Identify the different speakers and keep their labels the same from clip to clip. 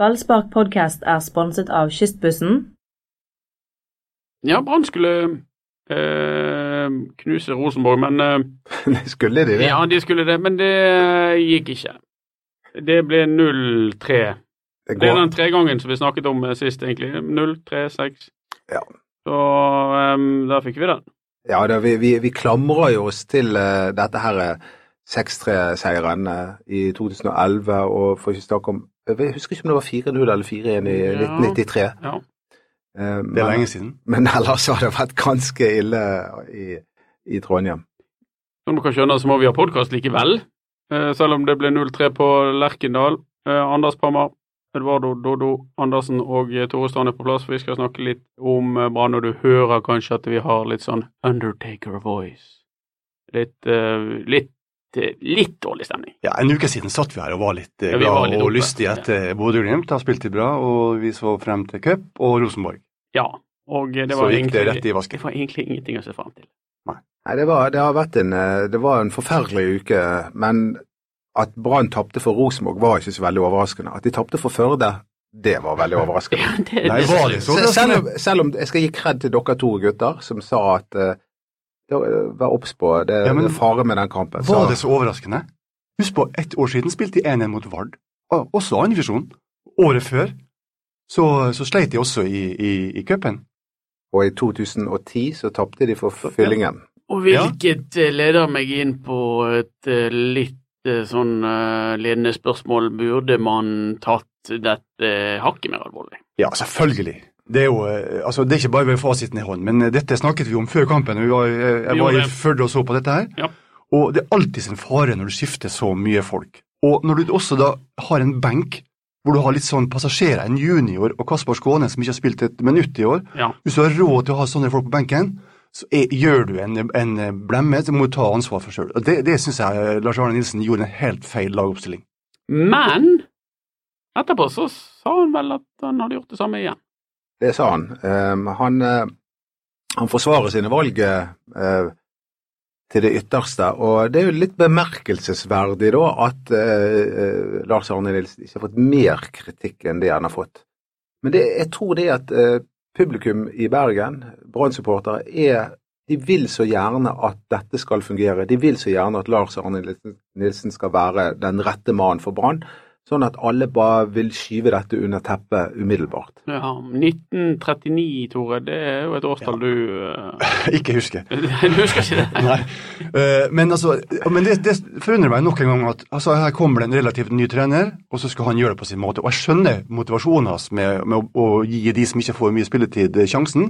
Speaker 1: Ballspark podcast er sponset av Kystbussen.
Speaker 2: Ja, Brann skulle eh, knuse Rosenborg, men eh,
Speaker 3: Skulle de det?
Speaker 2: ja, de skulle det, men det eh, gikk ikke. Det ble 0-3. Det
Speaker 3: det
Speaker 2: er
Speaker 3: går.
Speaker 2: den tregangen som vi snakket om eh, sist, egentlig. 0-3-6.
Speaker 3: Ja.
Speaker 2: Så ehm, der fikk vi den.
Speaker 3: Ja, da, vi, vi, vi klamrer jo oss til eh, dette her eh, 6-3-seieren eh, i 2011, og for ikke snakke om Jeg husker ikke om det var 4-0 eller 4-1 i
Speaker 2: Ja.
Speaker 3: 1993.
Speaker 2: Ja.
Speaker 3: Eh,
Speaker 4: Det er
Speaker 3: men-
Speaker 4: lenge siden.
Speaker 3: Men ellers har det vært ganske ille i, i Trondheim.
Speaker 2: Som dere skjønner, så må vi ha podkast likevel. Eh, selv om det ble 0-3 på Lerkendal. Eh, Anders Pammer, Eduardo Dodo Andersen og eh, Tore Strand er på plass, for vi skal snakke litt om eh, Brann. Og du hører kanskje at vi har litt sånn Undertaker-voice. Litt, eh, litt, eh, litt dårlig stemning.
Speaker 4: Ja, En uke siden satt vi her og var litt eh,
Speaker 2: Ja, vi var
Speaker 4: glad
Speaker 2: litt
Speaker 4: og
Speaker 2: oppe.
Speaker 4: lystige etter Bodø-Glimt har spilt det bra, og vi så frem til cup og Rosenborg.
Speaker 2: Ja. Og eh, det
Speaker 4: Så
Speaker 2: var,
Speaker 4: gikk det rett
Speaker 2: egentlig,
Speaker 4: i vasken.
Speaker 2: det var egentlig ingenting å se frem til.
Speaker 3: Nei, det var, det har vært en, eh, det var en forferdelig uke, men at Brann tapte for Rosenborg var ikke så veldig overraskende. At de tapte for Førde, det var veldig overraskende.
Speaker 2: Ja, det,
Speaker 4: Nei,
Speaker 2: det-
Speaker 4: var det så
Speaker 3: Se- Selv om,
Speaker 4: overraskende?
Speaker 3: selv om jeg skal gi kred til dere to gutter som sa at eh, det var- vær obs på det,
Speaker 4: Ja, men-
Speaker 3: det er fare med den kampen. Så-
Speaker 4: Var det så overraskende? Husk på, ett år siden spilte de 1-1 mot Vard, og- også andrefisjon. Året før så, så sleit de også i, i, i cupen.
Speaker 3: Og i 2010 så tapte de for fyllingen.
Speaker 2: Og hvilket eh, leder meg inn på et eh, litt eh, sånn eh, ledende spørsmål. Burde man tatt dette eh, hakket mer alvorlig?
Speaker 4: Ja, selvfølgelig. Det er jo, eh, altså det er ikke bare ved fasiten i hånd, men eh, dette snakket vi om før kampen. Vi var, eh, jeg
Speaker 2: gjorde
Speaker 4: var i
Speaker 2: det.
Speaker 4: Førde og så på dette her.
Speaker 2: Ja.
Speaker 4: Og det er alltid sin fare når du skifter så mye folk. Og når du også da har en benk hvor du har litt sånn passasjerer, en junior og Kaspar Skåne som ikke har spilt et minutt i år.
Speaker 2: Ja.
Speaker 4: Hvis du har råd til å ha sånne folk på benken, så er, gjør du en, en eh, blemme, så må du ta ansvar for sjøl. Det, det syns jeg eh, Lars Arne Nilsen gjorde en helt feil lagoppstilling.
Speaker 2: Men etterpå så sa han vel at han hadde gjort det samme igjen.
Speaker 3: Det sa han. Ehm, han, eh, han forsvarer sine valg eh, til det ytterste, og det er jo litt bemerkelsesverdig da at eh, eh, Lars Arne Nilsen ikke har fått mer kritikk enn det han har fått. Men det, jeg tror det at eh, publikum i Bergen, Brann-supportere, er de vil så gjerne at dette skal fungere. De vil så gjerne at Lars Arne Nilsen- Nilsen skal være den rette mannen for Brann, sånn at alle bare vil skyve dette under teppet umiddelbart.
Speaker 2: Ja, 1939, Tore, det er jo et årstall du eh,
Speaker 4: ikke husker.
Speaker 2: Du husker ikke det?
Speaker 4: Nei. Eh, men altså, men det, det forundrer meg nok en gang at altså, her kommer det en relativt ny trener, og så skal han gjøre det på sin måte. Og jeg skjønner motivasjonen hans med, med å, å gi de som ikke får mye spilletid, eh, sjansen,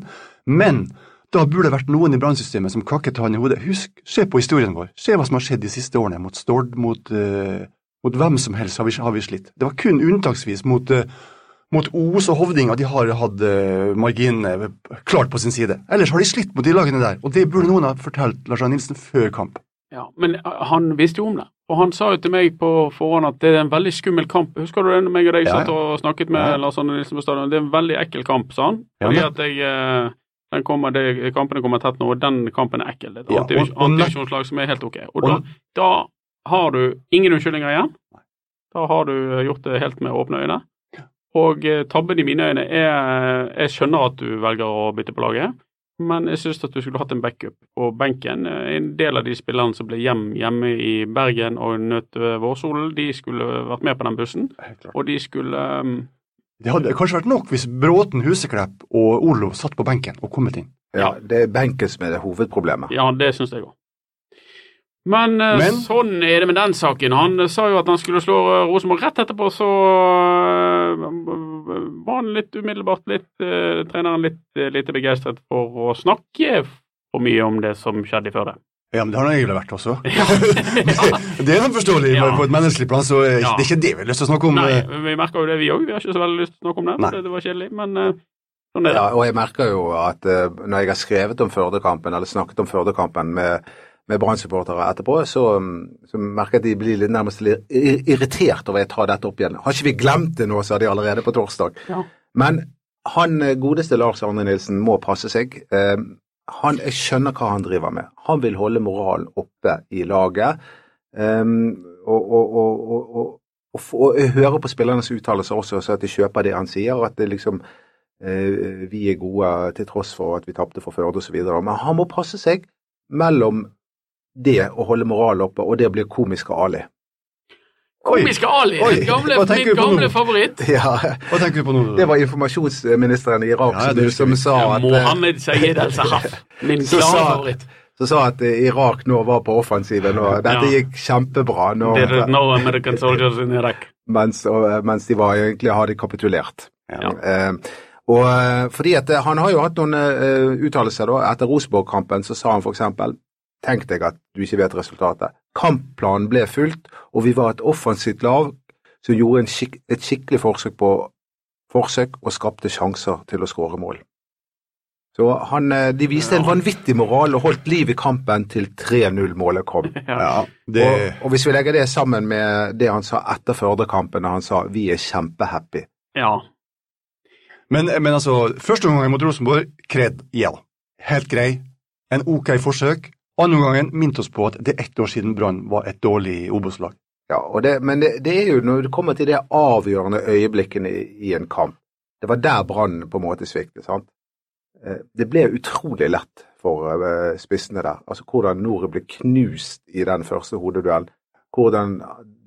Speaker 4: men da burde det vært noen i brannsystemet som kakket han i hodet. Husk, se på historien vår. Se hva som har skjedd de siste årene mot Stord, mot, eh, mot hvem som helst har vi, har vi slitt. Det var kun unntaksvis mot eh, mot Os og Hovdinga de har hatt eh, marginene klart på sin side. Ellers har de slitt mot de lagene der, og det burde noen ha fortalt Lars Arne Nilsen før kamp.
Speaker 2: Ja, men eh, han visste jo om det. Og han sa jo til meg på forhånd at det er en veldig skummel kamp. Husker du det når meg og deg
Speaker 4: Ja, ja.
Speaker 2: satt og snakket med
Speaker 4: Ja.
Speaker 2: Lars Arne Nilsen på stadion? Det er en veldig ekkel kamp, sa han.
Speaker 4: Ja,
Speaker 2: Fordi
Speaker 4: men-
Speaker 2: at jeg, eh, den kommer, det, kampene kommer tett nå, og den kampen er ekkel. Det er et
Speaker 4: Ja,
Speaker 2: antivisjon-
Speaker 4: og- og nett-
Speaker 2: antivisjonslag som er helt ok. Og,
Speaker 4: Og-
Speaker 2: da, da har du ingen unnskyldninger igjen. Da har du eh, gjort det helt med åpne øyne. Og eh, tabben i mine øyne er eh, Jeg skjønner at du velger å bytte på laget, men jeg syns at du skulle hatt en backup på benken. Eh, En del av de spillerne som ble hjem hjemme i Bergen og nøt eh, vårsolen, de skulle vært med på den bussen. Og de skulle eh,
Speaker 4: Det hadde kanskje vært nok hvis Bråten, Huseklepp og Olo satt på benken og kommet inn.
Speaker 3: Ja, det er benken som er det hovedproblemet.
Speaker 2: Ja, det syns jeg òg. Men, eh,
Speaker 4: Men-
Speaker 2: sånn er det med den saken. Han eh, sa jo at han skulle slå eh, Rosenborg rett etterpå, så eh, var han litt umiddelbart litt eh, Treneren litt eh, lite begeistret for å snakke for mye om det som skjedde i Førde.
Speaker 4: Ja, men det har han egentlig vært også.
Speaker 2: Ja.
Speaker 4: Det er forståelig
Speaker 2: Ja.
Speaker 4: men på et menneskelig plan, så er ikke-
Speaker 2: Ja.
Speaker 4: det er ikke det vi har lyst til å snakke om.
Speaker 2: Nei,
Speaker 4: eh,
Speaker 2: vi merker jo det, vi òg. Vi har ikke så veldig lyst til å snakke om det.
Speaker 4: Nei.
Speaker 2: for Det, det var kjedelig, men eh, sånn er det.
Speaker 3: Ja, og jeg merker jo at eh, når jeg har skrevet om Førdekampen, eller snakket om Førdekampen med, med Brann-supportere etterpå, så, mm, så merker jeg at de blir litt nærmest litt ir- irritert over at jeg tar dette opp igjen. Har ikke vi glemt det nå, sa de allerede på torsdag.
Speaker 2: Ja.
Speaker 3: Men han eh, godeste Lars Arne Nilsen må passe seg. Eh, Han, jeg skjønner hva han driver med. Han vil holde moralen oppe i laget. Eh, og, og, og, og, og og, få, og jeg hører på spillernes uttalelser også, så at de kjøper det han sier, og at det liksom eh, vi er gode til tross for at vi tapte for Førde osv. Men han må passe seg mellom det å holde moralen oppe og det å bli komisk av Ali.
Speaker 2: Komiske Ali,
Speaker 4: Oi.
Speaker 2: min gamle,
Speaker 4: Hva
Speaker 2: min
Speaker 4: tenker du på nå?
Speaker 2: gamle favoritt.
Speaker 3: Ja,
Speaker 4: Hva tenker du på nå?
Speaker 3: det var informasjonsministeren i Irak
Speaker 4: Ja,
Speaker 3: som,
Speaker 4: det husker
Speaker 3: som
Speaker 4: vi.
Speaker 3: sa
Speaker 2: Ja,
Speaker 3: at eh,
Speaker 2: Mohammed Sayed El Sahaf,
Speaker 4: eh,
Speaker 2: min
Speaker 3: Så
Speaker 2: klare
Speaker 3: sa-
Speaker 2: favoritt.
Speaker 3: som sa at eh, Irak nå var på offensiven, og dette
Speaker 2: Ja.
Speaker 3: gikk kjempebra nå,
Speaker 2: There is no American soldiers in Iraq.
Speaker 3: mens, og, eh, mens de var egentlig hadde kapitulert.
Speaker 2: Ja.
Speaker 3: Eh, og eh, fordi at eh, Han har jo hatt noen eh, uttalelser da, etter Rosenborg-kampen. Så sa han f.eks.: Tenk deg at du ikke vet resultatet. Kampplanen ble fulgt, og vi var et offensivt lag som gjorde en skik et skikkelig forsøk på forsøk og skapte sjanser til å skåre mål. Så han, eh, De viste en
Speaker 2: Ja.
Speaker 3: vanvittig moral og holdt liv i kampen til 3-0-målet kom.
Speaker 2: Ja.
Speaker 4: Ja, det,
Speaker 3: Og, og Hvis vi legger det sammen med det han sa etter Førde-kampen, da han sa 'vi er kjempehappy',
Speaker 2: ja.
Speaker 4: men, men altså, første omgang mot Rosenborg, kred gjeld. Helt grei. En ok forsøk. Andre gangen minnet oss på at det er ett år siden Brann var et dårlig Obos-lag.
Speaker 3: Ja, og det, men det, det er jo når det kommer til det avgjørende øyeblikkene i, i en kamp. Det var der brannen på en måte sviktet. sant? Eh, Det ble utrolig lett for eh, spissene der. Altså hvordan Nore ble knust i den første hodeduellen. Hvordan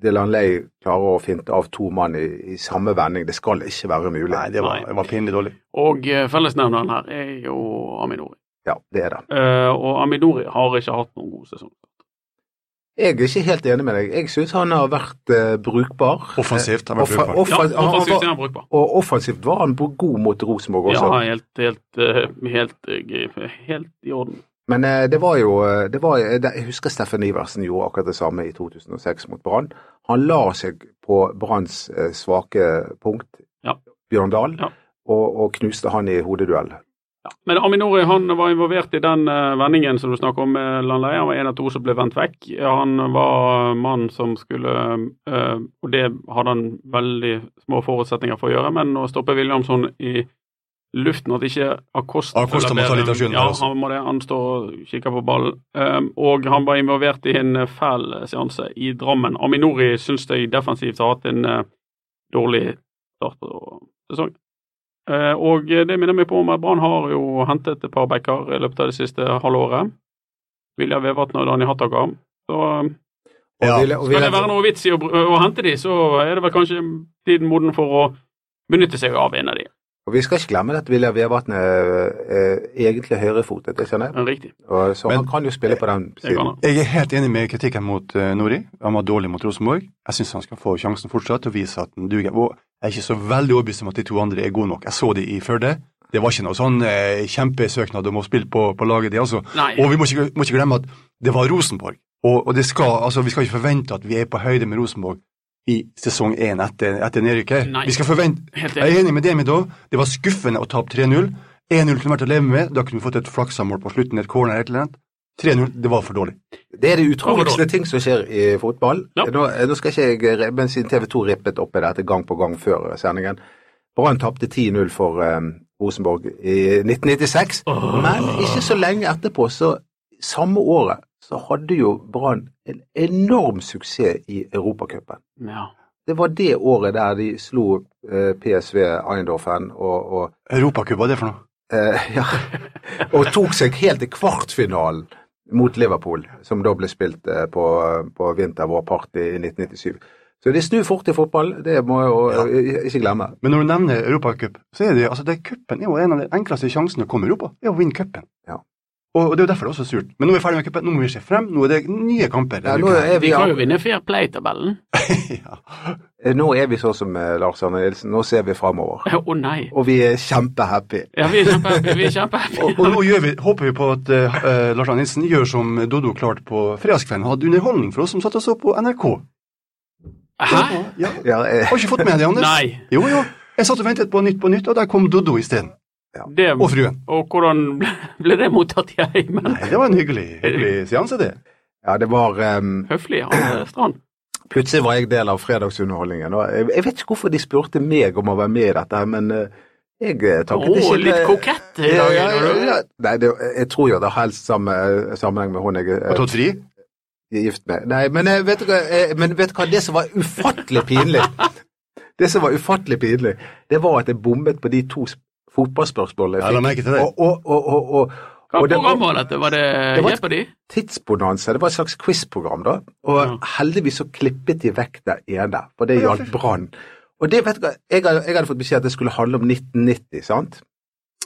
Speaker 3: Dylan Ley klarer å finte av to mann i, i samme vending. Det skal ikke være mulig.
Speaker 4: Nei, det var,
Speaker 2: Nei.
Speaker 4: det var pinlig dårlig.
Speaker 2: Og eh, fellesnevneren her er jo Aminori.
Speaker 3: Ja, det er det.
Speaker 2: Eh, og Aminori har ikke hatt noen god sesong.
Speaker 3: Jeg er ikke helt enig med deg. Jeg syns han har vært eh, brukbar.
Speaker 4: Offensivt
Speaker 3: Eh,
Speaker 4: har vært
Speaker 3: offa-
Speaker 4: brukbar.
Speaker 2: Ja,
Speaker 3: offens- han- han
Speaker 2: offensivt
Speaker 3: var-
Speaker 2: er han brukbar.
Speaker 3: og offensivt var han god mot Rosenborg også.
Speaker 2: Ja, helt, helt, eh, helt, eh, helt i orden.
Speaker 3: Men eh, det var jo eh, det var, eh, det- Jeg husker Steffen Iversen gjorde akkurat det samme i 2006 mot Brann. Han la seg på Branns eh, svake punkt,
Speaker 2: Ja.
Speaker 3: Bjørn Dahl,
Speaker 2: Ja.
Speaker 3: og, og knuste han i hodeduell.
Speaker 2: Ja. Men Aminori han var involvert i den eh, vendingen som du snakker om med Landleie. Han var en av to som ble vendt vekk. Han var mannen som skulle eh, Og det hadde han veldig små forutsetninger for å gjøre, men å stoppe Williamson i luften at ikke Acosta
Speaker 4: Acosta må
Speaker 2: leverer-
Speaker 4: ta litt av skylden
Speaker 2: Ja,
Speaker 4: altså. der også.
Speaker 2: han må det. Han står og kikker på ballen. Eh, og han var involvert i en eh, fæl seanse i Drammen. Aminori syns jeg defensivt har hatt en eh, dårlig start på sesongen. Eh, Og det minner meg på om at Brann har jo hentet et par backer i løpet av det siste halvåret. Vilja Vevatn og Dani Hattaker. Så eh,
Speaker 3: Og
Speaker 4: Ja.
Speaker 3: ville- og
Speaker 2: skal
Speaker 3: ville-
Speaker 2: det være noe vits i å, br- å hente de, så er det vel kanskje tiden moden for å benytte seg av en av de.
Speaker 3: og vi skal ikke glemme at Vilja Vevatn er eh, egentlig høyrefotet, det skjønner jeg.
Speaker 2: Riktig.
Speaker 3: Og, så
Speaker 4: Men-
Speaker 3: han kan jo spille på den
Speaker 2: Det kan
Speaker 3: siden.
Speaker 2: han.
Speaker 4: Jeg er helt enig med kritikken mot eh, Nori. Han var dårlig mot Rosenborg. Jeg syns han skal få sjansen fortsatt og vise at han duger. Og jeg er ikke så veldig overbevist om at de to andre er gode nok. Jeg så de i Førde. Det var ikke noe sånn eh, kjempesøknad om å spille på, på laget, det altså.
Speaker 2: Nei.
Speaker 4: Og vi må ikke, må ikke glemme at det var Rosenborg. Og, og det skal, altså, vi skal ikke forvente at vi er på høyde med Rosenborg i sesong én etter, etter nedrykket.
Speaker 2: Nei.
Speaker 4: Vi skal forvente
Speaker 2: Helt
Speaker 4: jeg
Speaker 2: enig.
Speaker 4: er enig med Demidov. Det var skuffende å tape 3-0. 1-0 kunne vært å leve med. Da kunne vi fått et flaksamål på slutten, et corner et eller annet. 3-0, det var for dårlig.
Speaker 3: Det er de
Speaker 2: Ja, for
Speaker 3: utroligste ting som skjer i fotball.
Speaker 2: Ja.
Speaker 3: Nå, nå skal ikke jeg, re- men siden TV 2 rippet opp i dette gang på gang før sendingen. Brann tapte 10-0 for eh, Rosenborg i 1996, men ikke så lenge etterpå, så samme året, så hadde jo Brann en enorm suksess i Europacupen.
Speaker 2: Ja.
Speaker 3: Det var det året der de slo eh, PSV Eindhoven og, og
Speaker 4: Europacup, hva er det for noe?
Speaker 3: Eh, ja. Og tok seg helt til kvartfinalen mot Liverpool, som da ble spilt eh, på, på Winter War Party i 1997. Så det snur fort i fotball, det må jeg jo eh, ikke glemme.
Speaker 4: Men når du nevner Europacup, så er det altså det er cupen er jo en av de enkleste sjansene å komme i Europa. Det er å vinne cupen.
Speaker 3: Ja.
Speaker 4: Og og det er jo derfor det er også surt. Men nå er vi ferdig med cupen, nå må vi se frem. Nå er det nye kamper.
Speaker 3: Ja,
Speaker 4: denne
Speaker 3: nå,
Speaker 4: uken her.
Speaker 3: er vi,
Speaker 2: Vi kan jo vinne Fair Play-tabellen.
Speaker 4: ja.
Speaker 3: eh, nå er vi sånn som eh, Lars Arne Nilsen, nå ser vi framover.
Speaker 2: Å nei.
Speaker 3: Og vi er kjempehappy.
Speaker 2: Ja, vi er kjempehappy. Vi er kjempehappy.
Speaker 4: Og, og nå gjør vi, håper vi på at eh, Lars Arne Nilsen gjør som Dodo klarte på fredagskvelden. Hadde underholdning for oss som satt og så på NRK.
Speaker 2: Hæ?
Speaker 4: Ja.
Speaker 3: Ja, eh,
Speaker 4: Har ikke fått med deg, Anders?
Speaker 2: Nei.
Speaker 4: Jo, jo. Jeg satt og ventet på Nytt på Nytt, og der kom Dodo isteden.
Speaker 2: Det,
Speaker 4: Og fruen.
Speaker 2: og hvordan ble, ble det mottatt i heimen?
Speaker 4: Nei, det var en hyggelig, hyggelig seanse, det.
Speaker 3: ja, det var eh,
Speaker 2: Høflig, han Strand.
Speaker 3: Plutselig var jeg del av fredagsunderholdningen. Og jeg, jeg vet ikke hvorfor de spurte meg om å være med i dette, her, men eh, jeg eh,
Speaker 2: Å,
Speaker 3: takket ikke
Speaker 2: litt
Speaker 3: nei.
Speaker 2: kokett i
Speaker 3: Ja,
Speaker 2: dag.
Speaker 3: ja,
Speaker 2: er du?
Speaker 3: ja, ja. Nei, det, jeg tror jo det har helst samme, sammenheng med hun jeg
Speaker 4: Har tatt fri?
Speaker 3: gift med. Nei, men eh, vet du hva, eh, men vet du hva det som var ufattelig pinlig? Det som var ufattelig pinlig, det var at jeg bommet på de to sp- fotballspørsmålene
Speaker 4: Jeg
Speaker 3: jeg
Speaker 4: la
Speaker 3: fikk.
Speaker 4: merke til det.
Speaker 3: Og, og, og, og, og,
Speaker 2: Hva
Speaker 3: og det
Speaker 2: program
Speaker 3: var
Speaker 2: var dette? Var det,
Speaker 3: Det var-
Speaker 2: Jeopardy?
Speaker 3: tidsbonanza, det var et slags quizprogram, da. Og
Speaker 2: Ja.
Speaker 3: heldigvis så klippet de vekk det ene, for det gjaldt Brann. Og det, vet du hva, jeg, hadde- jeg hadde fått beskjed at det skulle handle om 1990, sant?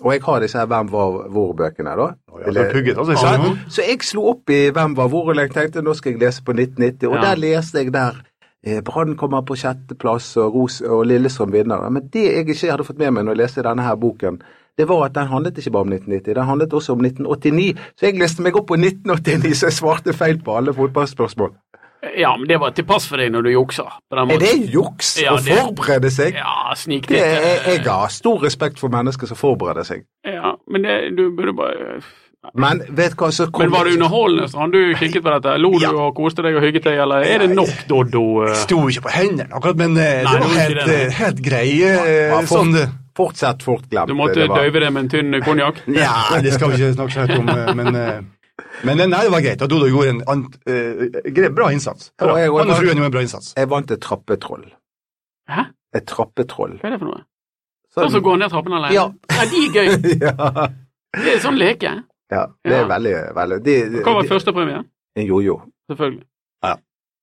Speaker 3: Og jeg har disse her Hvem var hvor-bøkene, da.
Speaker 4: Ja, du har pugget,
Speaker 3: Så,
Speaker 4: altså, ikke sant?
Speaker 3: så jeg slo opp i Hvem var hvor, og jeg tenkte nå skal jeg lese på 1990, og
Speaker 2: Ja.
Speaker 3: der leste jeg der eh, Brann kommer på sjetteplass, og, Ros- og Lillestrøm vinner. Ja, Men det jeg ikke hadde fått med meg når jeg leste denne her boken, det var at den handlet ikke bare om 1990, den handlet også om 1989. Så jeg leste meg opp på 1989, så jeg svarte feil på alle fotballspørsmål.
Speaker 2: Ja, men det var til pass for deg når du juksa. på den
Speaker 3: Er det
Speaker 2: måten.
Speaker 3: juks
Speaker 2: Ja,
Speaker 3: å
Speaker 2: det-
Speaker 3: forberede seg?
Speaker 2: Ja,
Speaker 3: Det er,
Speaker 2: sniktitt.
Speaker 3: jeg har stor respekt for mennesker som forbereder seg.
Speaker 2: Ja, men det, du burde bare
Speaker 3: Men vet du hva, så kom
Speaker 2: Men var det underholdende, Strand? Du kikket på dette. Lo du
Speaker 4: Ja.
Speaker 2: og koste deg og hygget deg, eller er det nok Doddo? eh?
Speaker 4: Jeg sto ikke på hendene akkurat, men
Speaker 2: Nei,
Speaker 4: eh, det var
Speaker 2: det var ikke
Speaker 4: helt,
Speaker 2: det.
Speaker 4: eh, helt greie eh,
Speaker 3: Ja, for-
Speaker 4: sånn det.
Speaker 3: Fortsett fortglemt.
Speaker 2: Du måtte
Speaker 3: det var-
Speaker 2: døyve det med en tynn konjakk?
Speaker 4: Ja, det skal vi ikke snakke så høyt om, eh, men eh, men eh, nei, det var greit. og Dodo gjorde en ant, eh, gre- bra innsats.
Speaker 3: Ja, jeg-
Speaker 4: Han og fruen gjorde en bra innsats.
Speaker 3: Jeg vant et trappetroll.
Speaker 2: Hæ?
Speaker 3: Et trappetroll.
Speaker 2: Hva er det for noe?
Speaker 3: Så-
Speaker 2: Sånn som går ned trappen alene?
Speaker 3: Ja.
Speaker 2: Nei, de er gøy.
Speaker 3: ja.
Speaker 2: Det er sånn leke.
Speaker 3: ja, det er
Speaker 2: Ja.
Speaker 3: veldig, veldig de, de,
Speaker 2: Hva var førstepremien?
Speaker 3: En jojo.
Speaker 2: Selvfølgelig.
Speaker 4: Ja.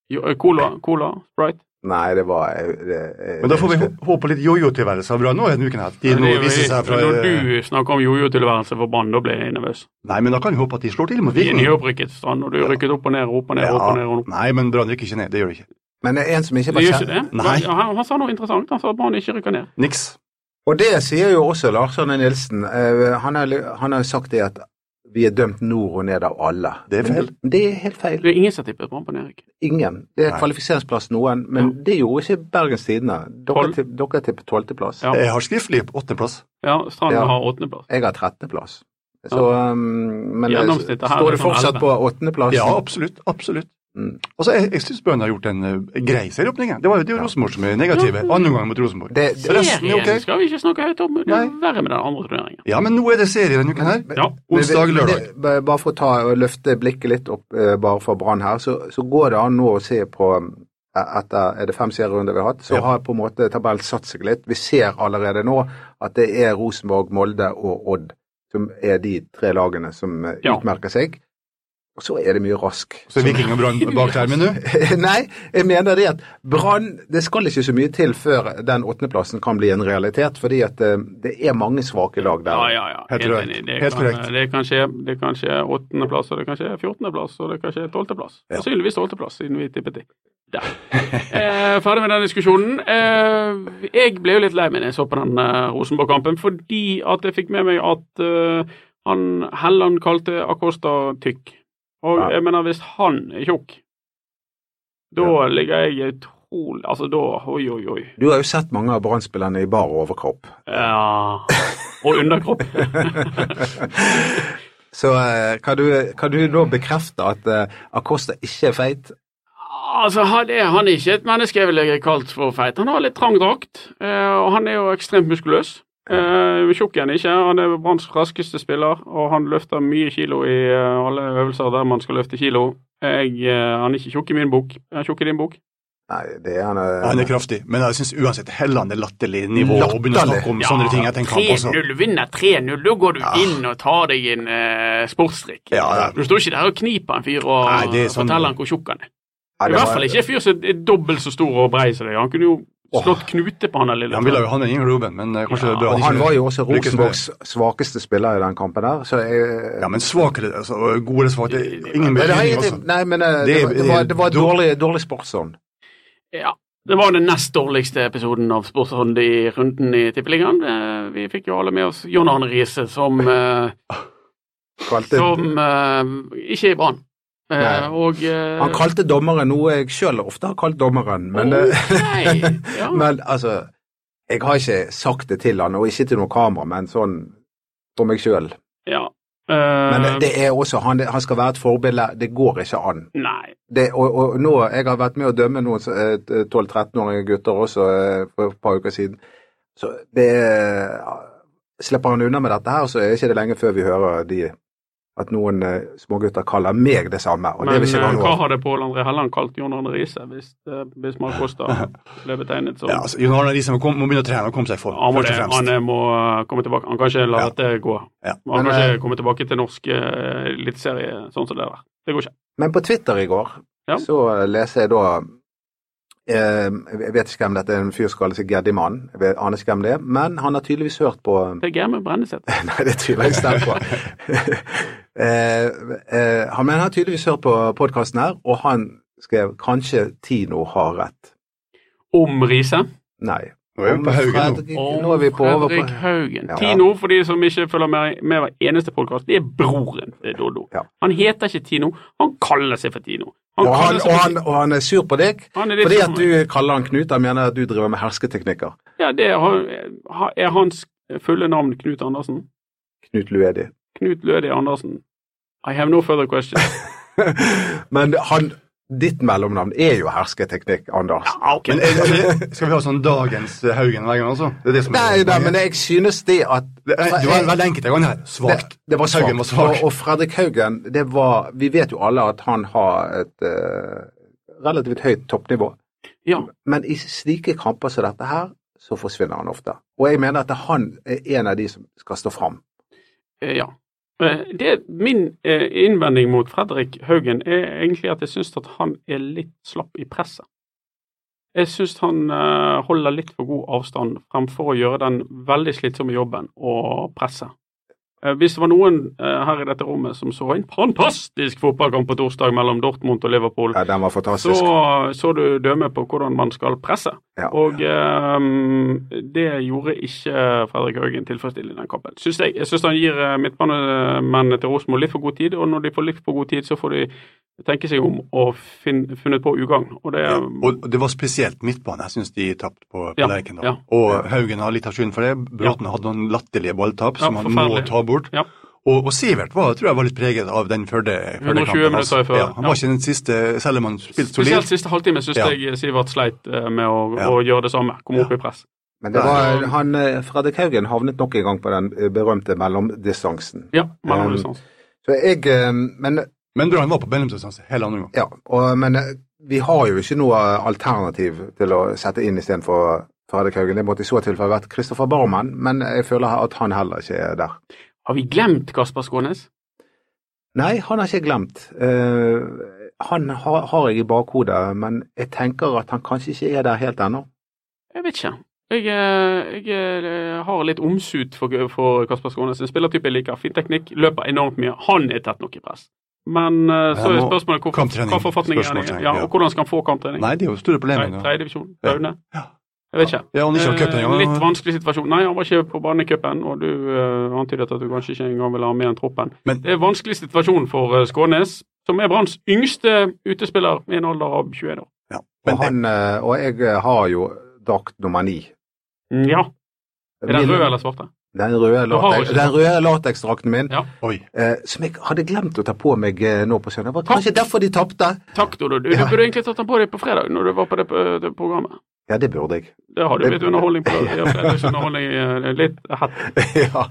Speaker 2: Jo, eh, Cola, cola, Sprite.
Speaker 3: Nei, det var jeg- det, eh, jeg-
Speaker 4: Men da får vi hå- håpe litt jojo-tilværelse av bra nå denne uken. her. De
Speaker 2: Det
Speaker 4: nå
Speaker 2: er jo
Speaker 4: viser seg
Speaker 2: helt-
Speaker 4: fra,
Speaker 2: Når
Speaker 4: eh,
Speaker 2: du snakker om jojo-tilværelse for Brann, da blir jeg nervøs.
Speaker 4: Nei, men da kan vi håpe at de slår til mot
Speaker 2: Vi er
Speaker 4: Viking.
Speaker 2: nyopprykket, Strand, og du er rykket opp og ned, opp og ned, opp og ned. Og opp.
Speaker 4: Nei, men Brann rykker ikke ned. Det gjør de ikke.
Speaker 3: Men det er en som ikke
Speaker 2: Det
Speaker 3: var
Speaker 2: gjør ikke
Speaker 3: kjent.
Speaker 2: det?
Speaker 4: Nei.
Speaker 2: Ja, han, han sa noe interessant. Han sa at Brann ikke rykker ned.
Speaker 4: Niks.
Speaker 3: Og det sier jo også Lars Arne Nilsen. Eh, han har han har jo sagt det at vi er dømt nord og ned av alle.
Speaker 4: Det er feil.
Speaker 3: Men Det er helt feil.
Speaker 2: Det er ingen som tippet Brann på nedrykk.
Speaker 3: Ingen. Det er
Speaker 4: Nei.
Speaker 3: kvalifiseringsplass noen, men det gjorde ikke Bergens Tidende. Dere,
Speaker 2: Tolv.
Speaker 3: tipp- dere tippet tolvteplass.
Speaker 2: Ja.
Speaker 4: Jeg har skriftlig på åttendeplass.
Speaker 2: Ja, Strand
Speaker 3: Ja.
Speaker 2: har åttendeplass.
Speaker 3: Jeg har trettendeplass. Så, um, men
Speaker 2: Gjennomsnittet her
Speaker 3: står
Speaker 2: er
Speaker 3: det
Speaker 2: sånn
Speaker 3: fortsatt
Speaker 2: elleve.
Speaker 3: på åttendeplass?
Speaker 4: Ja, absolutt. Absolutt.
Speaker 3: Mm.
Speaker 4: Altså, Jeg, jeg syns Brann har gjort en eh, grei serieåpning. jeg. Det var jo det
Speaker 3: Ja.
Speaker 4: Rosenborg som er negative. Andre gang mot Rosenborg.
Speaker 3: Det, det,
Speaker 4: Resten er
Speaker 2: Serien
Speaker 4: ok.
Speaker 2: skal vi ikke snakke høyt om. Det er
Speaker 4: Nei.
Speaker 2: verre med den andre turneringen.
Speaker 4: Ja, men nå er det serie denne uken her.
Speaker 2: Ja.
Speaker 4: Onsdag,
Speaker 3: Men- men
Speaker 4: lørdag.
Speaker 3: det- bare- Bare for å ta og løfte blikket litt opp eh, bare for Brann her, så, så går det an nå å se på eh, etter er det fem serierunder vi har hatt, så
Speaker 4: Ja.
Speaker 3: har på en måte tabellen satt seg litt. Vi ser allerede nå at det er Rosenborg, Molde og Odd som er de tre lagene som eh,
Speaker 2: Ja.
Speaker 3: utmerker seg. Og så er det mye rask.
Speaker 4: Så er Viking og Brann bak der, men nå?
Speaker 3: Nei, jeg mener det at Brann Det skal ikke så mye til før den åttendeplassen kan bli en realitet, fordi at eh, det er mange svake lag der.
Speaker 2: Ja, ja, ja.
Speaker 4: Helt
Speaker 2: Helt
Speaker 4: korrekt.
Speaker 2: enig. Det
Speaker 4: Helt korrekt.
Speaker 2: kan, det kan skje, det kan skje åttendeplass, og det kan skje fjortendeplass, og det kan skje tolvteplass.
Speaker 4: Ja.
Speaker 2: Sannsynligvis tolvteplass, siden vi tippet det. Der. Eh, ferdig med den diskusjonen. Eh, jeg ble jo litt lei meg da jeg så på den eh, Rosenborg-kampen, fordi at jeg fikk med meg at eh, han Helland kalte Acosta tykk. Og
Speaker 3: Ja.
Speaker 2: jeg mener, hvis han er tjukk, da
Speaker 3: Ja.
Speaker 2: ligger jeg utrolig Altså, da Oi, oi, oi.
Speaker 3: Du har jo sett mange av Brann-spillerne i bar overkropp.
Speaker 2: Ja. Og underkropp.
Speaker 3: Så eh, kan du, kan du nå bekrefte at eh, Acosta ikke er feit?
Speaker 2: Altså, han er, han er ikke et menneske jeg ville kalt for feit. Han har litt trang drakt, eh, og han er jo ekstremt muskuløs. Eh, Tjukk er han ikke. Han er Branns raskeste spiller, og han løfter mye kilo i eh, alle øvelser der man skal løfte kilo. Jeg, eh, han er ikke tjukk i min bok. Er han tjukk i din bok?
Speaker 3: Nei, det er han eh,
Speaker 4: Han er kraftig, men jeg syns uansett Helland er latterlig nivå å begynne å snakke om sånne ting etter en kamp også.
Speaker 2: 3-0, vinner 3-0. Da går du
Speaker 4: Ja.
Speaker 2: inn og tar deg en eh, sportsdrikk.
Speaker 4: Ja, ja.
Speaker 2: Du står ikke der og kniper en fyr og
Speaker 4: Nei, det er sånn-
Speaker 2: forteller han hvor tjukk han er.
Speaker 3: Ja,
Speaker 2: I
Speaker 3: det
Speaker 2: hvert
Speaker 3: var-
Speaker 2: fall ikke en fyr som er dobbelt så stor og brei som deg. Han kunne jo slått knute på han der lille.
Speaker 4: Han ville jo ha den ingen Ruben, men eh, kanskje
Speaker 2: Ja,
Speaker 4: det er bra
Speaker 3: Og han var jo også
Speaker 4: lykkes med det.
Speaker 3: Rosenborgs svakeste spiller i den kampen der, så jeg
Speaker 4: Ja, men svakere, altså, gode eller svake, ingen
Speaker 3: Nei, det har
Speaker 4: betydning, altså.
Speaker 3: ingenting- Nei, men eh, det,
Speaker 4: Det
Speaker 3: var-
Speaker 4: er-
Speaker 3: det var, det var
Speaker 4: det er-
Speaker 3: dårlig, dårlig sportsånd.
Speaker 2: Ja. Det var den nest dårligste episoden av Sportsrunde i runden i Tippeligaen. Eh, Vi fikk jo alle med oss John Arne Riise, som, eh,
Speaker 3: Kalte-
Speaker 2: som eh, ikke er i Brann. Eh,
Speaker 3: Nei.
Speaker 2: Og eh,
Speaker 3: Han kalte dommeren noe jeg sjøl ofte har kalt dommeren, men, eh,
Speaker 2: ok, ja.
Speaker 3: men altså Jeg har ikke sagt det til han, og ikke til noe kamera, men sånn for meg sjøl.
Speaker 2: ja.
Speaker 3: Men
Speaker 2: Eh,
Speaker 3: det, det er også han, det- han skal være et forbilde. Det går ikke an.
Speaker 2: Nei.
Speaker 3: Det, og, og nå, Jeg har vært med å dømme noen eh, 12-13-årige gutter også eh, for et par uker siden. Så det Slipper han unna med dette her, så er det ikke det lenge før vi hører de at noen eh, smågutter kaller meg det samme. og det
Speaker 2: Men
Speaker 3: vil ikke
Speaker 2: eh,
Speaker 3: være
Speaker 2: hva
Speaker 3: noe.
Speaker 2: har det Pål André Helland kalt John Arne Riise, hvis, eh, hvis Mark Kosta ble betegnet som
Speaker 4: Ja, altså, Jon Arne Riise må, komme- må begynne å trene og komme seg i form,
Speaker 2: han må,
Speaker 4: først
Speaker 2: det,
Speaker 4: og
Speaker 2: han
Speaker 4: fremst.
Speaker 2: eh, må eh, komme tilbake. Han kan ikke la
Speaker 4: Ja.
Speaker 2: dette gå.
Speaker 4: Ja.
Speaker 2: Han
Speaker 3: Men,
Speaker 2: kan
Speaker 3: eh,
Speaker 2: ikke komme tilbake til norsk eh, eliteserie sånn som det der. Det går ikke.
Speaker 3: Men på Twitter i går
Speaker 2: Ja.
Speaker 3: så leser jeg da eh, Jeg vet ikke hvem dette er, en fyr som kaller seg Geddimann. Jeg vet- aner ikke hvem det er, men han har tydeligvis hørt på
Speaker 2: Det er gamet Brenneseth.
Speaker 3: Nei, det tviler jeg sterkt på. eh, eh, han mener han har tydeligvis hørt på podkasten her, og han skrev 'Kanskje Tino har rett'.
Speaker 2: Om Riise.
Speaker 3: Nei.
Speaker 4: Nå er vi på Haugen nå.
Speaker 3: Fredrik- Nå er vi på over på
Speaker 2: Fredrik Haugen.
Speaker 3: Ja.
Speaker 2: Tino, for de som ikke følger med, med hver eneste podkast, det er broren til Doddo.
Speaker 3: Ja.
Speaker 2: Han heter ikke Tino, han kaller seg for Tino.
Speaker 3: og han,
Speaker 2: kaller seg
Speaker 3: og,
Speaker 2: for
Speaker 3: han, og han er sur på deg
Speaker 2: Tino. Han er litt
Speaker 3: fordi
Speaker 2: som-
Speaker 3: at du kaller han Knut. Han mener at du driver med hersketeknikker.
Speaker 2: Ja, det er, han- er hans fulle navn Knut Andersen?
Speaker 3: Knut Luedi.
Speaker 2: Knut Lødi Andersen. I have no further questions.
Speaker 3: Men han, ditt mellomnavn er jo hersketeknikk, Anders.
Speaker 2: Ja, ok.
Speaker 4: Men er, er, det- skal vi ha sånn dagens eh, Haugen hver gang, altså? Det er det som er
Speaker 3: Nei, nei, men jeg synes det at
Speaker 4: det, er- det var veldig enkelt en gang her. Svakt.
Speaker 3: Det, det var svakt.
Speaker 4: Haugen var svak.
Speaker 3: Og, og Fredrik Haugen, det var Vi vet jo alle at han har et eh, relativt høyt toppnivå.
Speaker 2: Ja,
Speaker 3: Men i slike kamper som dette her, så forsvinner han ofte. Og jeg mener at han er en av de som skal stå fram.
Speaker 2: eh, ja. Eh, Det, min eh, innvending mot Fredrik Haugen er egentlig at jeg syns at han er litt slapp i presset. Jeg syns han eh, holder litt for god avstand fremfor å gjøre den veldig slitsomme jobben å presse. Eh, Hvis det var noen eh, her i dette rommet som så en fantastisk fotballkamp på torsdag mellom Dortmund og Liverpool,
Speaker 3: Ja, den var fantastisk.
Speaker 2: så, så du dømme på hvordan man skal presse.
Speaker 3: Ja.
Speaker 2: Og ehm, det gjorde ikke Fredrik Haugen tilfredsstillende i den kampen, syns jeg. Jeg syns han gir eh, midtbanemennene til Rosenborg litt for god tid, og når de får litt for god tid, så får de tenke seg om og fin, funnet på ugagn. Og det ehm,
Speaker 4: Ja, og det var spesielt midtbane. Jeg syns de tapte på, på
Speaker 2: Ja,
Speaker 4: Lerkendal.
Speaker 2: ja.
Speaker 4: Og Haugen har litt av skylden for det. Bråten hadde noen latterlige balltap som
Speaker 2: Ja,
Speaker 4: han må
Speaker 2: forferdelig.
Speaker 4: ta bort.
Speaker 2: Ja.
Speaker 4: Og, og Sivert var, tror jeg var litt preget av den før det. før det
Speaker 2: 120
Speaker 4: kampen hans.
Speaker 2: minutter før,
Speaker 4: Ja, han
Speaker 2: ja.
Speaker 4: var ikke den siste, selv om han spilte
Speaker 2: Spesielt
Speaker 4: solid.
Speaker 2: siste halvtime syns
Speaker 4: Ja.
Speaker 2: jeg Sivert sleit eh, med å,
Speaker 4: Ja.
Speaker 2: å gjøre det samme, komme opp i press.
Speaker 3: Men det
Speaker 2: Ja.
Speaker 3: var, han, eh, Fredrik Haugen havnet nok en gang på den eh, berømte mellomdistansen.
Speaker 2: Ja,
Speaker 4: Ehm,
Speaker 2: mellom
Speaker 3: Um,
Speaker 2: distanse.
Speaker 3: Så jeg, eh, men,
Speaker 4: Men Brann var på mellomdistanse hele andre gang.
Speaker 3: ja, og, men eh, vi har jo ikke noe alternativ til å sette inn istedenfor Fredrik Haugen. Det måtte i så tilfelle vært Kristoffer Barmen, men jeg føler at han heller ikke er der.
Speaker 2: Har vi glemt Kasper Skånes?
Speaker 3: Nei, han har ikke glemt. Eh, han har, har jeg i bakhodet, men jeg tenker at han kanskje ikke er der helt ennå.
Speaker 2: Jeg vet ikke. Jeg, eh, jeg eh, har litt omsut for, for Kasper Skånes. En spillertype jeg liker. Fin teknikk, løper enormt mye. Han er tett nok i press. Men eh, så er
Speaker 4: Han må-
Speaker 2: spørsmålet hvor,
Speaker 4: kamptrening.
Speaker 2: hva forfatningen er han i.
Speaker 4: Spørsmålstegn,
Speaker 2: Ja,
Speaker 4: ja.
Speaker 2: og hvordan skal han få kamptrening?
Speaker 4: Nei, det er jo store problemer nå.
Speaker 2: Tredjedivisjon?
Speaker 4: Ja.
Speaker 2: Aune?
Speaker 4: Ja.
Speaker 2: Jeg vet ikke.
Speaker 4: Ja, han er ikke har cupen
Speaker 2: Eh,
Speaker 4: engang.
Speaker 2: litt vanskelig situasjon. Nei, han var ikke på banen i cupen, og du eh, antydet at du kanskje ikke engang ville ha med igjen troppen.
Speaker 4: Men-
Speaker 2: det er en vanskelig situasjon for eh, Skånes, som er Branns yngste utespiller i en alder av 21 år.
Speaker 4: Ja.
Speaker 3: Og,
Speaker 4: Men,
Speaker 3: han, eh, og jeg har jo drakt nummer ni.
Speaker 2: Mm, Ja. Er den
Speaker 3: Min-
Speaker 2: rød eller svarte?
Speaker 3: Den røde,
Speaker 2: Du har
Speaker 3: latex,
Speaker 2: ikke-
Speaker 3: den røde lateksdrakten min,
Speaker 2: Ja.
Speaker 4: oi,
Speaker 3: eh, som jeg hadde glemt å ta på meg eh, nå på søndag. Det var kanskje derfor de tapte.
Speaker 2: Takk, Dodo. Du, du
Speaker 3: Ja.
Speaker 2: burde egentlig tatt den på deg på fredag, når du var på det, på det programmet.
Speaker 3: Ja, det burde jeg.
Speaker 2: Det hadde
Speaker 3: Det-
Speaker 2: blitt underholdning på det. Ja, fredagsunderholdning, eh, litt hett.
Speaker 3: ja,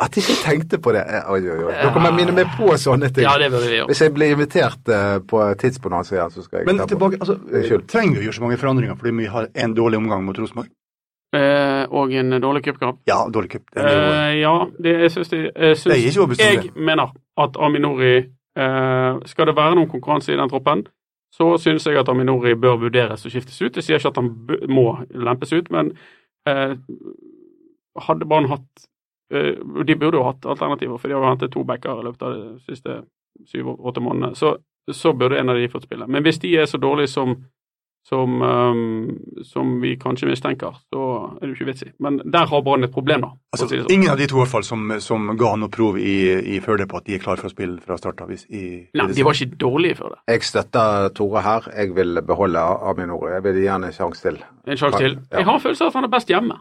Speaker 3: at jeg ikke tenkte på det. Eh, Oi, oi, oi. Dere må minne meg på sånne ting.
Speaker 2: Ja, det burde vi gjøre.
Speaker 3: Hvis jeg blir invitert eh, på tidsbonanse igjen, så skal jeg
Speaker 4: men
Speaker 3: ta på.
Speaker 4: tilbake, altså,
Speaker 3: Unnskyld.
Speaker 4: trenger vi å gjøre så mange forandringer fordi vi har en dårlig omgang mot Rosenborg?
Speaker 2: Eh, og en dårlig cupkamp.
Speaker 4: Ja, dårlig cup. Det er jo-
Speaker 2: Eh, ja, det jeg syns de jeg,
Speaker 4: Jeg er
Speaker 2: syns,
Speaker 4: ikke overbevist om
Speaker 2: jeg
Speaker 4: det.
Speaker 2: mener at Aminori eh, Skal det være noen konkurranse i den troppen, så syns jeg at Aminori bør vurderes og skiftes ut. Jeg sier ikke at han b må lempes ut, men eh, hadde Brann hatt eh, De burde jo hatt alternativer, for de har jo hentet to backer i løpet av de siste syv-åtte månedene. Så, så burde en av de fått spille. Men hvis de er så dårlige som som, eh, som vi kanskje mistenker, så er det jo ikke vits i. Men der har Brann et problem, da. for å si
Speaker 4: Altså,
Speaker 2: det sånn.
Speaker 4: ingen av de to i hvert fall som, som ga noe prov i, i Førde på at de er klare for å spille fra start av. i- i-
Speaker 2: Nei,
Speaker 4: i-
Speaker 2: de var ikke dårlige før det.
Speaker 3: Jeg støtter Tore her. Jeg vil beholde Aminor. Jeg vil gi han en sjanse til.
Speaker 2: En sjanse til.
Speaker 3: Ja.
Speaker 2: Jeg har en følelse av at han er best hjemme.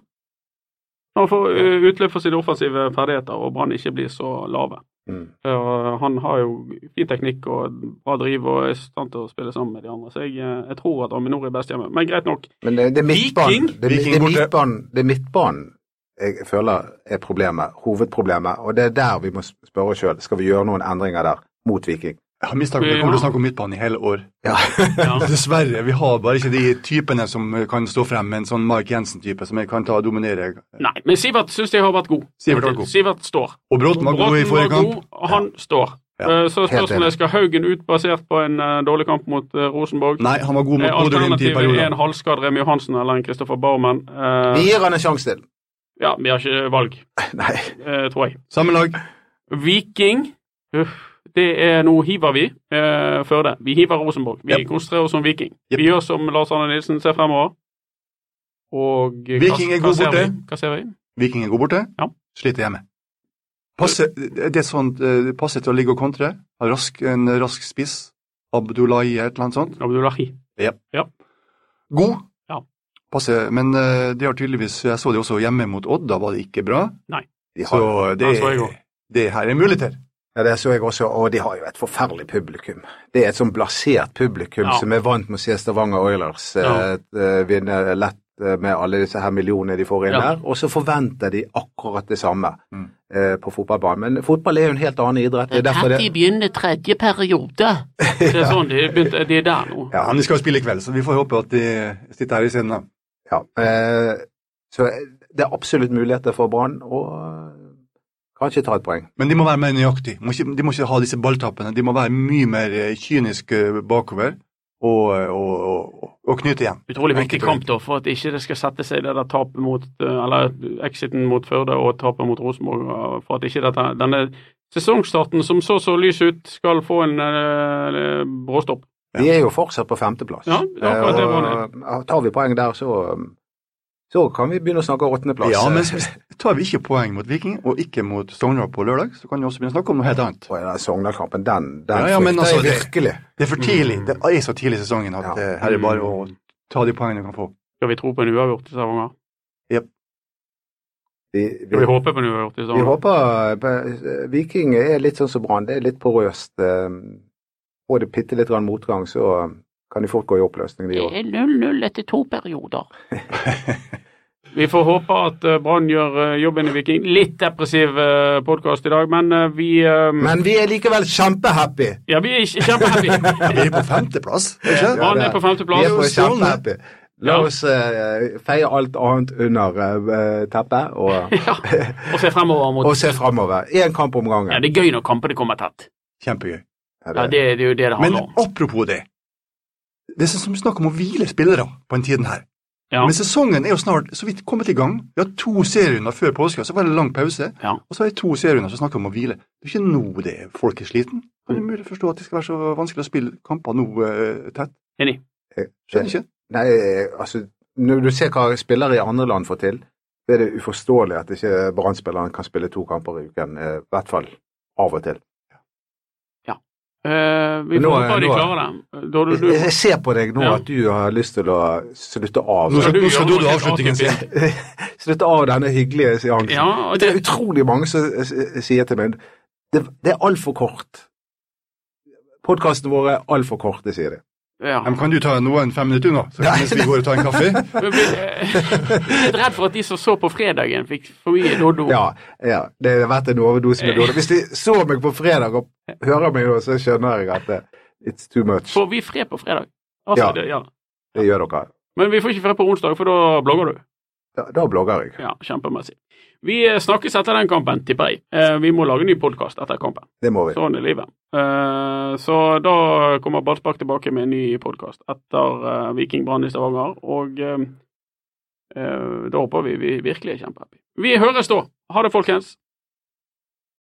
Speaker 2: Når han får eh, utløp for sine offensive ferdigheter og Brann ikke blir så lave.
Speaker 3: Mm.
Speaker 2: For han har jo fin teknikk og bra driv og er i stand til å spille sammen med de andre. Så jeg, eh, jeg tror at Aminor er best hjemme. Men greit nok.
Speaker 3: Men eh, det, det er midtbanen.
Speaker 2: Viking?
Speaker 3: Det, er-
Speaker 4: Viking
Speaker 3: det, er
Speaker 4: borte.
Speaker 3: midtbanen. det er midtbanen jeg føler er problemet, hovedproblemet. Og det er der vi må spørre oss sjøl, skal vi gjøre noen endringer der mot Viking?
Speaker 4: Jeg har mistanke om det kommer til å snakke om midtbanen i hele år.
Speaker 3: Ja.
Speaker 2: Ja.
Speaker 4: Dessverre, vi har bare ikke de typene som kan stå frem med en sånn Mark Jensen-type som jeg kan ta og dominere.
Speaker 2: Nei, men Sivert syns jeg har vært god.
Speaker 4: Sivert har vært god.
Speaker 2: Sivert står.
Speaker 4: Og Bråten var god i
Speaker 2: Bråten
Speaker 4: forrige
Speaker 2: var
Speaker 4: kamp.
Speaker 2: god, og Han står.
Speaker 4: Ja.
Speaker 2: Eh, Så spørsmålet
Speaker 3: enig.
Speaker 2: er skal Haugen ut basert på en eh, dårlig kamp mot eh, Rosenborg.
Speaker 4: Nei, han var
Speaker 2: Eh,
Speaker 4: god mot Bodø Glimt i
Speaker 2: Alternativet er en
Speaker 4: perioden.
Speaker 2: halvskadd Remi Johansen eller en Kristoffer Baumann. Eh,
Speaker 3: Vi gir han en sjanse til.
Speaker 2: Ja, vi har ikke valg,
Speaker 3: Nei.
Speaker 2: eh, tror jeg.
Speaker 4: Samme lag.
Speaker 2: Viking uff, det er Nå hiver vi eh, Førde. Vi hiver Rosenborg. Vi
Speaker 4: Jep.
Speaker 2: konsentrerer oss om Viking.
Speaker 4: Jep.
Speaker 2: Vi gjør som Lars Arne Nilsen, ser fremover. Og eh,
Speaker 4: Viking er
Speaker 2: hva,
Speaker 4: god
Speaker 2: hva, ser
Speaker 4: borte.
Speaker 2: vi? hva ser vi?
Speaker 4: Viking er god borte.
Speaker 2: Ja.
Speaker 4: Sliter hjemme. Passe, det er sånn, eh, passe til å ligge og kontre. Ha Rask, en rask spiss. Abdullahi et eller annet sånt.
Speaker 2: Abdullahi.
Speaker 4: God.
Speaker 2: Ja.
Speaker 4: Passe, men eh, det har tydeligvis Jeg så det også hjemme mot Odd, da var det ikke bra.
Speaker 3: De har,
Speaker 4: Så det,
Speaker 2: den så jeg også.
Speaker 4: det her er muligheter.
Speaker 3: ja, det så jeg også, og de har jo et forferdelig publikum. Det er et sånn blasert publikum
Speaker 2: Ja.
Speaker 3: som er vant med å se Stavanger Oilers eh, eh, vinne lett eh, med alle disse her millionene de får inn
Speaker 2: Ja.
Speaker 3: der, og så forventer de akkurat det samme
Speaker 4: Mm.
Speaker 3: eh, på fotballbanen. Men fotball er jo en helt annen idrett. Det er derfor det
Speaker 5: Når begynner tredje periode?
Speaker 2: Det er sånn, de, er begynt, de er der nå.
Speaker 3: Ja.
Speaker 4: Ja, men de skal jo spille i kveld, så vi får håpe at de sitter her i scenen. da.
Speaker 3: Ja, eh, så det er absolutt muligheter for Brann å kanskje ta et poeng.
Speaker 4: Men de må være mer nøyaktige. De må ikke, de må ikke ha disse balltappene. De må være mye mer eh, kyniske bakover og, og, og, og knyte igjen.
Speaker 2: Utrolig viktig
Speaker 4: Enkelt og
Speaker 2: kamp da, for at ikke det skal sette seg det der tapet mot eh, Eller exiten mot Førde og tapet mot Rosenborg. og For at ikke dette, denne sesongstarten som så så lys ut, skal få en eh, bråstopp.
Speaker 4: Ja.
Speaker 3: De er jo fortsatt på femteplass.
Speaker 2: Ja, det er akkurat det
Speaker 3: Eh,
Speaker 2: Brann
Speaker 3: og, og tar vi poeng der, så, så kan vi begynne å snakke åttendeplass.
Speaker 4: Ja, men s- tar vi ikke poeng mot Viking og ikke mot Sogndal på lørdag, så kan vi også begynne å snakke om noe helt annet.
Speaker 3: Og den Sogndal-kampen, den, den
Speaker 4: Ja, ja, men
Speaker 3: frykter
Speaker 4: altså,
Speaker 3: jeg
Speaker 4: det-
Speaker 3: virkelig.
Speaker 4: Det er for tidlig. Det er så tidlig i sesongen at
Speaker 3: Ja.
Speaker 4: eh, her er det bare å ta de poengene du kan få.
Speaker 2: Skal vi tro på en uavgjort i Stavanger?
Speaker 3: Vi,
Speaker 2: Skal vi
Speaker 3: vi,
Speaker 2: håpe på en uavgjort i
Speaker 3: vi
Speaker 2: Stavanger?
Speaker 3: håper eh, Viking er litt sånn som Brann, det er litt porøst. eh, Får det bitte litt grann motgang, så kan de fort gå i oppløsning, de
Speaker 5: Det
Speaker 3: òg.
Speaker 5: er 0-0 etter to perioder.
Speaker 2: Vi får håpe at eh, Brann gjør eh, jobben i Viking. Litt depressiv podkast i dag, men eh, vi eh,
Speaker 3: Men vi er likevel kjempehappy!
Speaker 2: Ja, vi er ikke kjempehappy.
Speaker 4: Vi er på femteplass, ikke
Speaker 3: Ja,
Speaker 2: Brann er
Speaker 3: det er-
Speaker 2: på
Speaker 3: Vi er
Speaker 2: femteplass.
Speaker 3: på
Speaker 4: jo strålende.
Speaker 3: kjempehappy. La
Speaker 2: Ja.
Speaker 3: oss eh, feie alt annet under eh, teppet og,
Speaker 2: Ja, og se fremover mot
Speaker 3: og se framover. Én kamp om gangen.
Speaker 2: Ja, det er gøy når kampene kommer tett.
Speaker 4: Kjempegøy.
Speaker 3: Er det-
Speaker 2: Ja, det, det er jo det det
Speaker 4: Men
Speaker 2: handler om.
Speaker 4: apropos det. Det er sånn som snakk om å hvile spillere på den tiden her.
Speaker 2: Ja.
Speaker 4: Men sesongen er jo snart så vidt kommet i gang. Vi har to serierunder før påske, så var det lang pause.
Speaker 2: Ja.
Speaker 4: Og så er det to serierunder som snakker om å hvile. Det er ikke nå det er folk er sliten. Er
Speaker 2: Mm.
Speaker 4: det mulig å forstå at det skal være så vanskelig å spille kamper nå eh, tett?
Speaker 2: Enig.
Speaker 4: Skjønner ikke.
Speaker 3: Nei, altså, når du ser hva spillere i andre land får til, så er det uforståelig at ikke Brann-spilleren kan spille to kamper i uken. eh, I hvert fall av og til.
Speaker 2: Eh, vi
Speaker 3: Men
Speaker 2: får
Speaker 3: nå-
Speaker 2: håpe de
Speaker 3: nå-
Speaker 2: klarer det. Da, du, du,
Speaker 3: Jeg jeg ser på deg nå
Speaker 2: Ja.
Speaker 3: at du har lyst til å slutte av.
Speaker 2: skal
Speaker 4: Nå skal,
Speaker 2: du
Speaker 4: nå skal
Speaker 2: gjøre noe
Speaker 4: du ha
Speaker 2: helt
Speaker 4: avslutningen sin.
Speaker 2: atypisk.
Speaker 3: Slutte av denne hyggelige seansen.
Speaker 2: ja, og
Speaker 3: Det
Speaker 2: det,
Speaker 3: er utrolig mange som eh, sier til meg det, det er altfor kort. Podkastene våre er altfor korte, sier de.
Speaker 2: ja.
Speaker 4: Ja, men kan du ta noen fem minutter nå, så mens vi går og tar en kaffe?
Speaker 2: Jeg blir litt redd for at de som så på fredagen, fikk for mye Doddo.
Speaker 3: Ja, ja det har vært en overdose med dårlig. Hvis de så meg på fredag og hører meg nå, så skjønner jeg at det, it's too much.
Speaker 2: Får vi fred på fredag? Altså,
Speaker 3: Ja.
Speaker 2: Det, ja.
Speaker 3: Det gjør dere.
Speaker 2: Men vi får ikke fred på onsdag, for da blogger du.
Speaker 3: Da, da blogger jeg.
Speaker 2: Ja, Kjempemessig. Vi eh, snakkes etter den kampen, tipper jeg. Eh, vi må lage ny podkast etter kampen.
Speaker 3: Det må vi.
Speaker 2: Sånn er livet. Eh, så da kommer Ballspark tilbake med en ny podkast etter eh, Viking Brann i Stavanger, og eh, eh, da håper vi vi virkelig er kjempehappy. Vi høres da! Ha det, folkens!